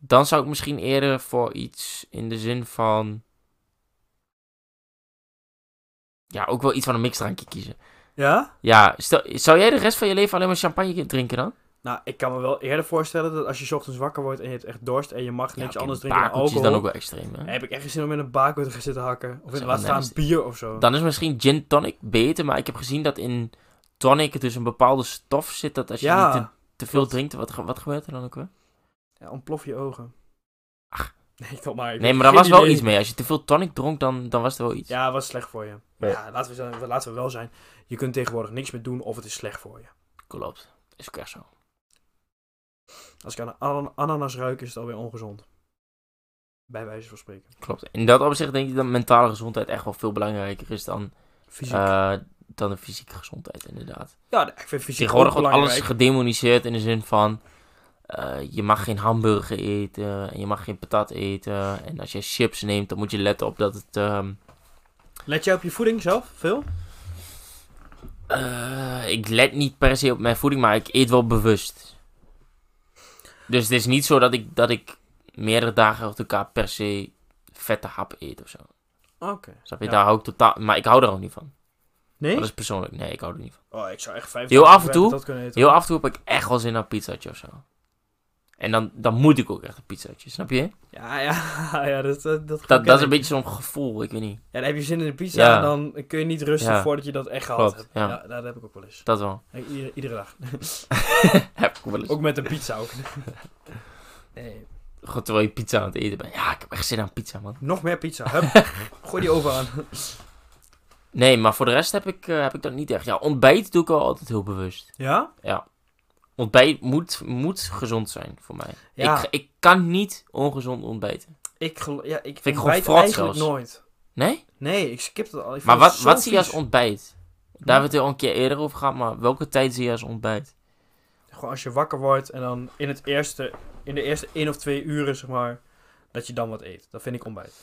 S1: Dan zou ik misschien eerder voor iets in de zin van. Ja, ook wel iets van een mixdrankje kiezen.
S2: Ja?
S1: Ja, stel, zou jij de rest van je leven alleen maar champagne drinken dan?
S2: Nou, ik kan me wel eerder voorstellen dat als je 's ochtends wakker wordt en je hebt echt dorst en je mag niks
S1: oké,
S2: anders drinken dan
S1: bakeltjes
S2: alcohol.
S1: is dan ook wel extreem. Hè?
S2: Heb ik echt geen zin om in een bako te gaan zitten hakken. Of in
S1: Zo,
S2: laat staan
S1: nee,
S2: bier of zo.
S1: Dan is misschien gin tonic beter. Maar ik heb gezien dat in tonic dus een bepaalde stof zit. Dat als je
S2: ja,
S1: niet te te veel drinkt, wat, ge- wat gebeurt er dan ook weer?
S2: Ja, ontplof je ogen.
S1: Ach.
S2: Nee, ik wil maar. ik
S1: Ah. Nee,
S2: heb
S1: maar daar
S2: geen
S1: was wel
S2: idee.
S1: iets mee. Als je te veel tonic dronk, dan, dan was er wel iets.
S2: Ja, was slecht voor je.
S1: Nee.
S2: Ja, laten we, zijn- laten we wel zijn. Je kunt tegenwoordig niks meer doen of het is slecht voor je.
S1: Klopt. Is ook echt zo.
S2: Als ik aan een ana- ananas ruik, is het alweer ongezond. Bij wijze van spreken.
S1: Klopt. In dat opzicht denk ik dat mentale gezondheid echt wel veel belangrijker is dan,
S2: Fysiek.
S1: eh, dan de fysieke gezondheid, inderdaad.
S2: ja, ik vind fysiek ook
S1: Tegenwoordig wordt alles
S2: belangrijk.
S1: gedemoniseerd in de zin van... eh, je mag geen hamburger eten en je mag geen patat eten. En als je chips neemt, dan moet je letten op dat het... ehm,
S2: Let jij op je voeding zelf? Veel?
S1: Eh, ik let niet per se op mijn voeding, maar ik eet wel bewust. Dus het is niet zo dat ik, dat ik meerdere dagen achter elkaar per se vette hap eet of zo.
S2: Oké.
S1: Snap je?
S2: Ja.
S1: Daar hou ik totaal... Maar ik hou er ook niet van.
S2: Nee?
S1: Dat is persoonlijk. Nee, ik hou er niet van.
S2: Oh, ik zou echt vijf
S1: Heel
S2: dagen
S1: af en toe.
S2: per week dat kunnen eten.
S1: Heel af en toe heb ik echt wel zin naar een pizzaatje of zo. En dan, dan moet ik ook echt een pizzaatje, snap je?
S2: Ja, ja, ja dat, eh, dat, dat,
S1: Dat,
S2: ken
S1: dat is
S2: ik.
S1: een beetje zo'n gevoel, ik weet niet.
S2: Ja, dan heb je zin in de pizza,
S1: Ja.
S2: dan kun je niet rusten
S1: Ja.
S2: voordat je dat echt gehad
S1: Klopt,
S2: hebt. Ja.
S1: ja. Dus-
S2: dat heb ik ook wel eens.
S1: Dat wel.
S2: Ik- Iedere, iedere dag.
S1: Heb ik wel eens.
S2: ook met een pizza ook. Nee.
S1: Gewoon terwijl je pizza aan het eten bent. Ja, ik heb echt zin aan pizza, man.
S2: Nog meer pizza. Hup. Gooi die oven aan.
S1: Nee, maar voor de rest heb ik, eh, heb ik dat niet echt. Ja, ontbijt doe ik wel altijd heel bewust.
S2: Ja?
S1: Ontbijt moet, moet gezond zijn voor mij.
S2: Ja.
S1: Ik, ik kan niet ongezond ontbijten.
S2: Ik, gel- ja, ik
S1: Vind ik gewoon
S2: ontbijt
S1: frot
S2: eigenlijk
S1: zelfs.
S2: nooit.
S1: Nee?
S2: Nee, ik skip dat al. Ik
S1: maar
S2: vind
S1: wat,
S2: het zo
S1: wat zie je als
S2: vies.
S1: ontbijt? Daar hebben we het al een keer eerder over gehad, maar welke tijd zie je als ontbijt?
S2: Gewoon als je wakker wordt en dan in, het eerste, in de eerste één of twee uren, zeg maar, dat je dan wat eet. Dat vind ik ontbijt.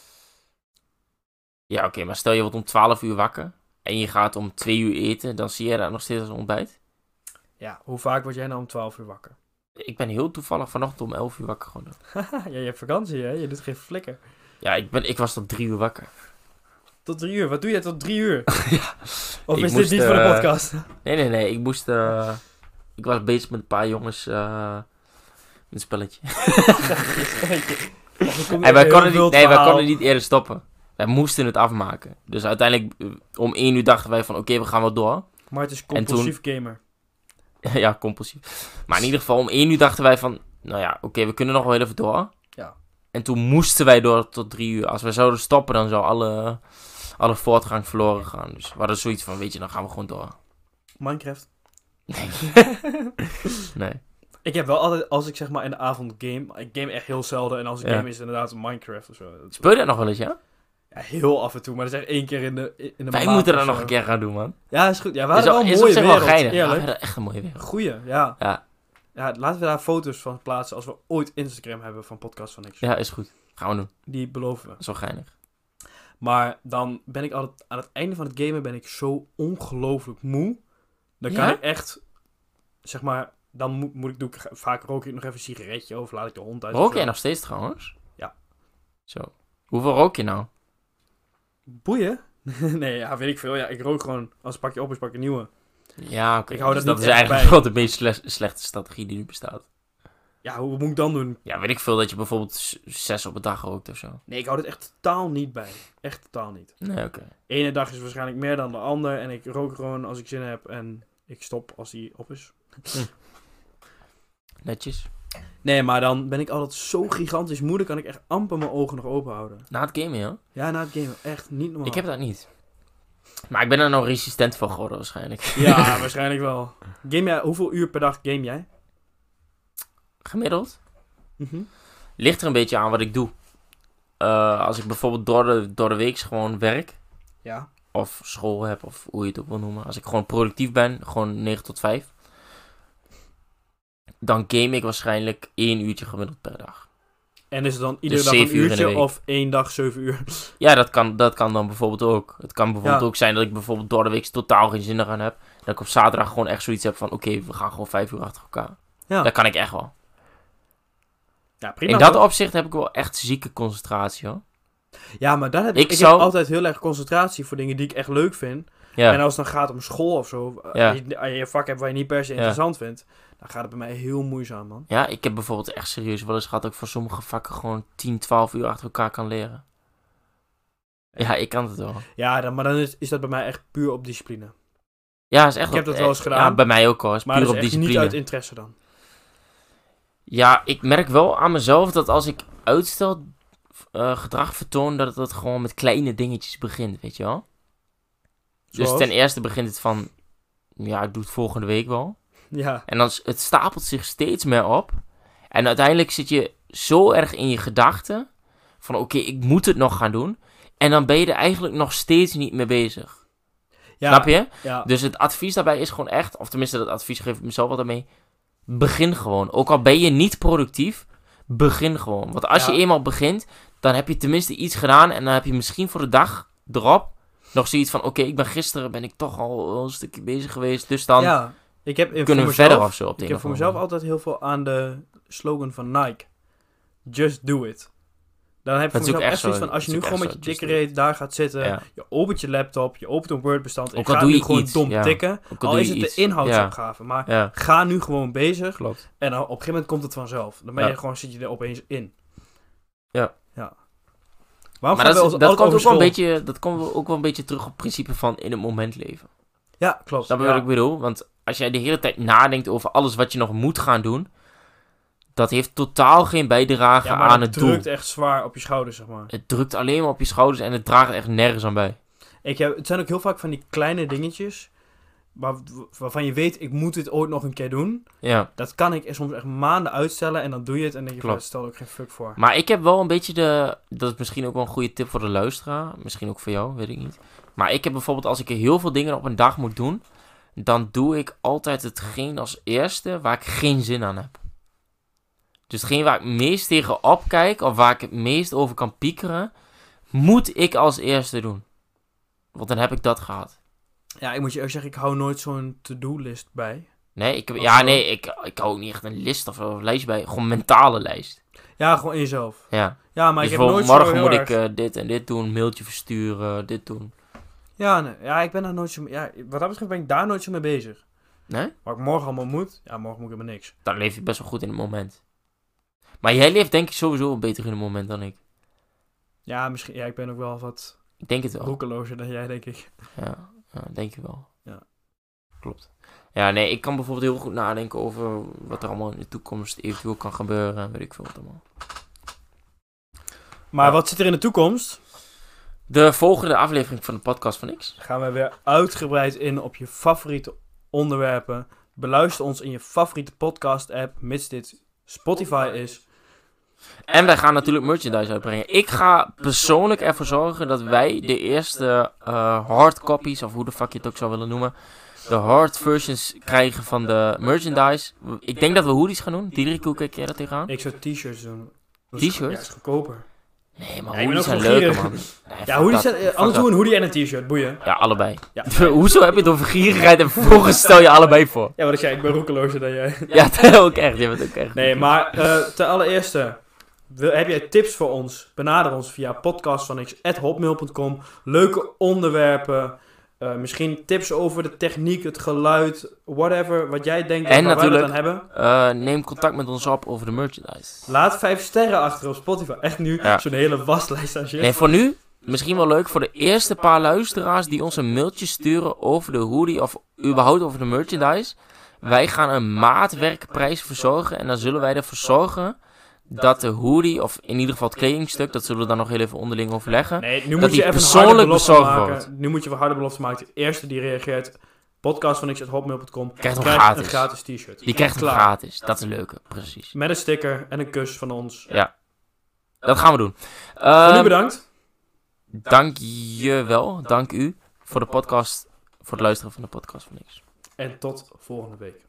S1: Ja, oké, maar stel je wordt om 12 uur wakker en je gaat om 2 uur eten, dan zie je dat nog steeds als ontbijt.
S2: Ja, hoe vaak word jij nou om 12 uur wakker?
S1: Ik ben heel toevallig vanochtend om 11
S2: Ah,
S1: uur wakker geworden.
S2: ja, je hebt vakantie, hè? Je doet geen flikker.
S1: Ja, ik, ben, ik was tot 3 uur wakker.
S2: Tot drie uur. Wat doe jij tot drie uur? Of
S1: Ik
S2: is dit
S1: moest,
S2: niet voor de
S1: eh,
S2: podcast?
S1: Nee, nee, nee. Ik moest... eh, ik was bezig met een paar jongens... eh, met een spelletje. En wij konden, niet, nee, wij konden niet eerder stoppen. Wij moesten het afmaken. Dus uiteindelijk eh, om één uur dachten wij van... Oké, we gaan wel door.
S2: Maar het is
S1: toen-
S2: compulsief gamer.
S1: ja, compulsief. Maar in ieder geval, om één uur dachten wij van... Nou ja, oké, we kunnen nog wel even door.
S2: Ja.
S1: En toen moesten wij door tot drie uur. Als wij zouden stoppen, dan zou alle, alle voortgang verloren gaan. Dus we hadden zoiets van, weet je, dan gaan we gewoon door.
S2: Minecraft.
S1: Nee. nee.
S2: Ik heb wel altijd, als ik zeg maar in de avond game, ik game echt heel zelden. En als ik
S1: Ja.
S2: game is het inderdaad Minecraft of zo. Dat is-
S1: Speel je dat nog wel eens, ja?
S2: ja, heel af en toe, maar dat is echt één keer in de, in de
S1: Wij
S2: maand
S1: moeten
S2: of
S1: dat
S2: zo.
S1: nog een keer gaan doen, man.
S2: Ja, is goed. Ja, we
S1: is
S2: hadden
S1: op-
S2: wel een
S1: is op
S2: mooie
S1: zich
S2: wereld,
S1: wel geinig. Ja, we
S2: eerlijk.
S1: hadden echt een mooie wereld.
S2: Goeie, ja.
S1: Ja.
S2: Ja, laten we daar foto's van plaatsen als we ooit Instagram hebben van Podcast van Niks.
S1: Ja, is goed. Gaan we doen.
S2: Die beloven we.
S1: Dat is wel geinig.
S2: Maar dan ben ik altijd, aan het einde van het gamen ben ik zo ongelooflijk moe. Dan kan
S1: Ja?
S2: ik echt, zeg maar, dan moet, moet ik, doe ik vaak rook ik nog even een sigaretje of laat ik de hond uit. of
S1: Rook
S2: zo.
S1: jij nog steeds trouwens?
S2: Ja.
S1: Zo. Hoeveel rook je nou?
S2: Boeien? nee, ja, weet ik veel. Ja, ik rook gewoon, als het pakje op is, pak ik een nieuwe.
S1: Ja, oké.
S2: Ik hou
S1: Dus
S2: dat
S1: dat
S2: niet
S1: is
S2: echt
S1: eigenlijk wel
S2: bij.
S1: de meest sle- slechte strategie die nu bestaat.
S2: Ja, hoe moet ik dan doen?
S1: Ja, weet ik veel dat je bijvoorbeeld z- zes op een dag rookt of zo.
S2: Nee, ik hou dit echt totaal niet bij. Echt totaal niet.
S1: Nee, oké.
S2: ene dag is waarschijnlijk meer dan de ander. En ik rook gewoon als ik zin heb. En ik stop als die op is.
S1: Netjes.
S2: Nee, maar dan ben ik altijd zo gigantisch moe. Dan kan ik echt amper mijn ogen nog open houden.
S1: Na het gamen, ja.
S2: Ja, na het gamen. Echt niet normaal.
S1: Ik heb dat niet. Maar ik ben er nou resistent voor geworden waarschijnlijk.
S2: Ja, waarschijnlijk wel. Game jij, hoeveel uur per dag game jij?
S1: Gemiddeld
S2: Mhm.
S1: ligt er een beetje aan wat ik doe. Eh, als ik bijvoorbeeld door de, door de week gewoon werk
S2: Ja.
S1: of school heb of hoe je het ook wil noemen. Als ik gewoon productief ben, gewoon 9 tot 5. Dan game ik waarschijnlijk één uurtje gemiddeld per dag.
S2: En is het dan iedere
S1: Dus
S2: dag een
S1: zeven uur in de
S2: uurtje
S1: week.
S2: of één dag zeven uur?
S1: Ja, dat kan, dat kan dan bijvoorbeeld ook. Het kan bijvoorbeeld
S2: Ja.
S1: ook zijn dat ik bijvoorbeeld door de week totaal geen zin eraan heb. Dat ik op zaterdag gewoon echt zoiets heb van... Oké, we gaan gewoon vijf uur achter elkaar.
S2: Ja.
S1: Dat kan ik echt wel.
S2: Ja, prima.
S1: In dat
S2: hoor.
S1: opzicht heb ik wel echt zieke concentratie, hoor.
S2: Ja, maar daar heb
S1: Ik
S2: ik, ik heb
S1: zou-
S2: altijd heel erg concentratie voor dingen die ik echt leuk vind.
S1: Ja,
S2: En als het dan gaat om school of zo, eh,
S1: Ja.
S2: als je- als je een vak hebt waar je niet per se
S1: Ja.
S2: interessant vindt, dan gaat het bij mij heel moeizaam, man.
S1: ja ik heb bijvoorbeeld echt serieus wel eens gehad... dat ik voor sommige vakken gewoon 10, 12 uur achter elkaar kan leren. Ja, ik kan het wel.
S2: Ja, dan, maar dan is, is dat bij mij echt puur op discipline.
S1: Ja, is echt
S2: Ik heb dat wel eens
S1: eh,
S2: gedaan.
S1: Ja, bij mij ook, hoor. Is
S2: Maar
S1: puur
S2: dat
S1: op
S2: is echt niet
S1: discipline.
S2: uit interesse dan.
S1: Ja, ik merk wel aan mezelf dat als ik uitstel eh, gedrag vertoon, dat dat gewoon met kleine dingetjes begint, weet je wel?
S2: Zoals?
S1: Dus ten eerste begint het van, ja, ik doe het volgende week wel.
S2: Ja,
S1: En dan s- het stapelt zich steeds meer op. En uiteindelijk zit je zo erg in je gedachten van, oké, ik moet het nog gaan doen. En dan ben je er eigenlijk nog steeds niet mee bezig.
S2: ja,
S1: Snap je?
S2: ja.
S1: Dus het advies daarbij is gewoon echt, of tenminste dat advies geef ik mezelf wat mee. Begin gewoon. Ook al ben je niet productief, begin gewoon. Want als
S2: Ja.
S1: je eenmaal begint, dan heb je tenminste iets gedaan en dan heb je misschien voor de dag erop nog zoiets van, oké, ik ben gisteren ben ik toch al wel een stukje bezig geweest, dus dan
S2: ja. Ik heb in- voor
S1: kunnen we
S2: mezelf,
S1: verder of zo op de
S2: Ik
S1: een
S2: heb
S1: of
S2: voor
S1: andere
S2: mezelf altijd heel veel aan de slogan van Nike. Just do it. Dan heb ik
S1: Dat
S2: voor
S1: is ook
S2: mezelf echt
S1: echt
S2: zoiets
S1: zo.
S2: van, als je
S1: Dat
S2: nu
S1: is ook
S2: gewoon
S1: echt
S2: met je
S1: zo. Just do
S2: dikke reet daar gaat zitten,
S1: Ja.
S2: je opent je laptop, je opent een Wordbestand en
S1: Ook al
S2: ga
S1: doe
S2: nu
S1: je
S2: gewoon
S1: iets,
S2: dom
S1: ja.
S2: tikken.
S1: manier. Ook
S2: Al
S1: doe
S2: is
S1: je
S2: het
S1: iets.
S2: de inhoudsopgave, maar
S1: Ja, ja,
S2: ga nu gewoon bezig.
S1: klopt.
S2: En dan op een gegeven moment komt het vanzelf. Dan ben
S1: Ja.
S2: je gewoon, zit je er opeens in.
S1: Ja.
S2: ja. Waarom
S1: Maar
S2: gaan we
S1: dat,
S2: ons
S1: is- dat,
S2: altijd
S1: komt
S2: over
S1: ook wel een
S2: school?
S1: beetje, dat komt ook wel een beetje terug op het principe van in het moment leven.
S2: Ja, klopt.
S1: Snap je
S2: ja.
S1: wat ik bedoel? Want als jij de hele tijd nadenkt over alles wat je nog moet gaan doen, dat heeft totaal geen bijdrage
S2: Ja, maar
S1: aan
S2: het
S1: het
S2: drukt
S1: doel.
S2: echt zwaar op je schouders, zeg maar.
S1: Het drukt alleen maar op je schouders en het draagt echt nergens aan bij.
S2: Ik heb, het zijn ook heel vaak van die kleine dingetjes... Waar, waarvan je weet, ik moet dit ooit nog een keer doen.
S1: Ja.
S2: Dat kan ik soms echt maanden uitstellen en dan doe je het... en dan denk je, van,
S1: Klopt.
S2: stel er ook geen fuck voor.
S1: Maar ik heb wel een beetje de. Dat is misschien ook wel een goede tip voor de luisteraar. Misschien ook voor jou, weet ik niet. Maar ik heb bijvoorbeeld, als ik heel veel dingen op een dag moet doen, dan doe ik altijd hetgeen als eerste waar ik geen zin aan heb. Dus hetgeen waar ik het meest tegen opkijk of waar ik het meest over kan piekeren, moet ik als eerste doen. Want dan heb ik dat gehad.
S2: Ja, ik moet je ook zeggen, ik hou nooit zo'n to-do-list bij.
S1: Nee, ik heb,
S2: Oh,
S1: ja,
S2: zo.
S1: nee, ik, ik hou ook niet echt een list of een lijst bij. Gewoon een mentale lijst.
S2: Ja, gewoon in jezelf.
S1: Ja.
S2: Ja, maar
S1: dus
S2: ik heb nooit
S1: bijvoorbeeld
S2: zo
S1: morgen
S2: heel
S1: moet
S2: erg-
S1: ik eh, dit en dit doen, mailtje versturen, dit doen.
S2: Ja, nee, ja, ik ben daar nooit zo mee... Ja, wat dat betreft ben ik daar nooit zo mee bezig.
S1: Nee?
S2: Wat ik morgen allemaal moet... Ja, morgen moet ik helemaal niks.
S1: Dan leef je best wel goed in het moment. Maar jij leeft denk ik sowieso wel beter in het moment dan ik.
S2: Ja, misschien... Ja, ik ben ook wel wat
S1: Ik denk het wel.
S2: roekelozer dan jij, denk ik.
S1: Ja, ja, denk je wel.
S2: Ja.
S1: Klopt. Ja, nee, ik kan bijvoorbeeld heel goed nadenken over wat er allemaal in de toekomst eventueel kan gebeuren en weet ik veel wat allemaal.
S2: Maar
S1: Ja.
S2: wat zit er in de toekomst?
S1: De volgende aflevering van de podcast van X.
S2: Gaan we weer uitgebreid in op je favoriete onderwerpen. Beluister ons in je favoriete podcast-app, mits dit Spotify is.
S1: En wij gaan natuurlijk merchandise uitbrengen. Ik ga persoonlijk ervoor zorgen dat wij de eerste eh hard copies, of hoe de fuck je het ook zou willen noemen, de hard versions krijgen van de merchandise. Ik denk dat we hoodies gaan doen. Diederik, hoe kijk jij dat tegenaan?
S2: Ik zou t-shirts doen. Dat is-
S1: T-shirts?
S2: Ja, is goedkoper.
S1: Nee, maar
S2: Ja, je
S1: hoodies
S2: bent
S1: zijn
S2: ook
S1: leuker,
S2: gierig.
S1: man. Nee, fuck
S2: Ja,
S1: dat.
S2: hoodies zijn,
S1: Fuck
S2: eh, anders
S1: dat.
S2: doen we een hoodie en een t-shirt, boeien.
S1: Ja, allebei.
S2: Ja,
S1: Hoezo heb je het over gierigheid en vervolgens stel je allebei voor?
S2: ja wat ik zei, ik ben roekelozer dan jij.
S1: Ja, dat ook echt. Je bent ook echt.
S2: Nee, maar eh, ten allereerste, wil, heb jij tips voor ons? Benader ons via podcastvanx.hotmail.com. Leuke onderwerpen, eh, misschien tips over de techniek, het geluid, whatever, wat jij denkt
S1: En
S2: waar wij het
S1: natuurlijk-
S2: aan hebben.
S1: Eh, neem contact met ons op over de merchandise.
S2: Laat vijf sterren achter op Spotify. Echt nu,
S1: Ja.
S2: zo'n hele waslijst aan shit.
S1: Nee, voor nu misschien wel leuk voor de eerste paar luisteraars die ons een mailtje sturen over de hoodie of überhaupt over de merchandise. Wij gaan een maatwerkprijs verzorgen en dan zullen wij ervoor zorgen dat de hoodie of in ieder geval het kledingstuk, dat zullen we dan nog heel even onderling overleggen.
S2: Nee, nu
S1: dat
S2: moet
S1: die
S2: je even
S1: persoonlijk
S2: een harde belofte
S1: bezorgd
S2: maken.
S1: wordt.
S2: Nu moet je een harde belofte maken. De eerste die reageert, podcastvanx.hotmail.com,
S1: Krijgt hem
S2: krijgt
S1: gratis.
S2: een gratis t-shirt.
S1: Die krijgt hem
S2: Klaar.
S1: gratis. Dat is een leuke, precies.
S2: Met een sticker en een kus van ons.
S1: Dat gaan we doen.
S2: Voor nu
S1: Ehm,
S2: bedankt.
S1: Dank je wel, dank u voor de podcast, voor het luisteren van de podcast van niks.
S2: En tot volgende week.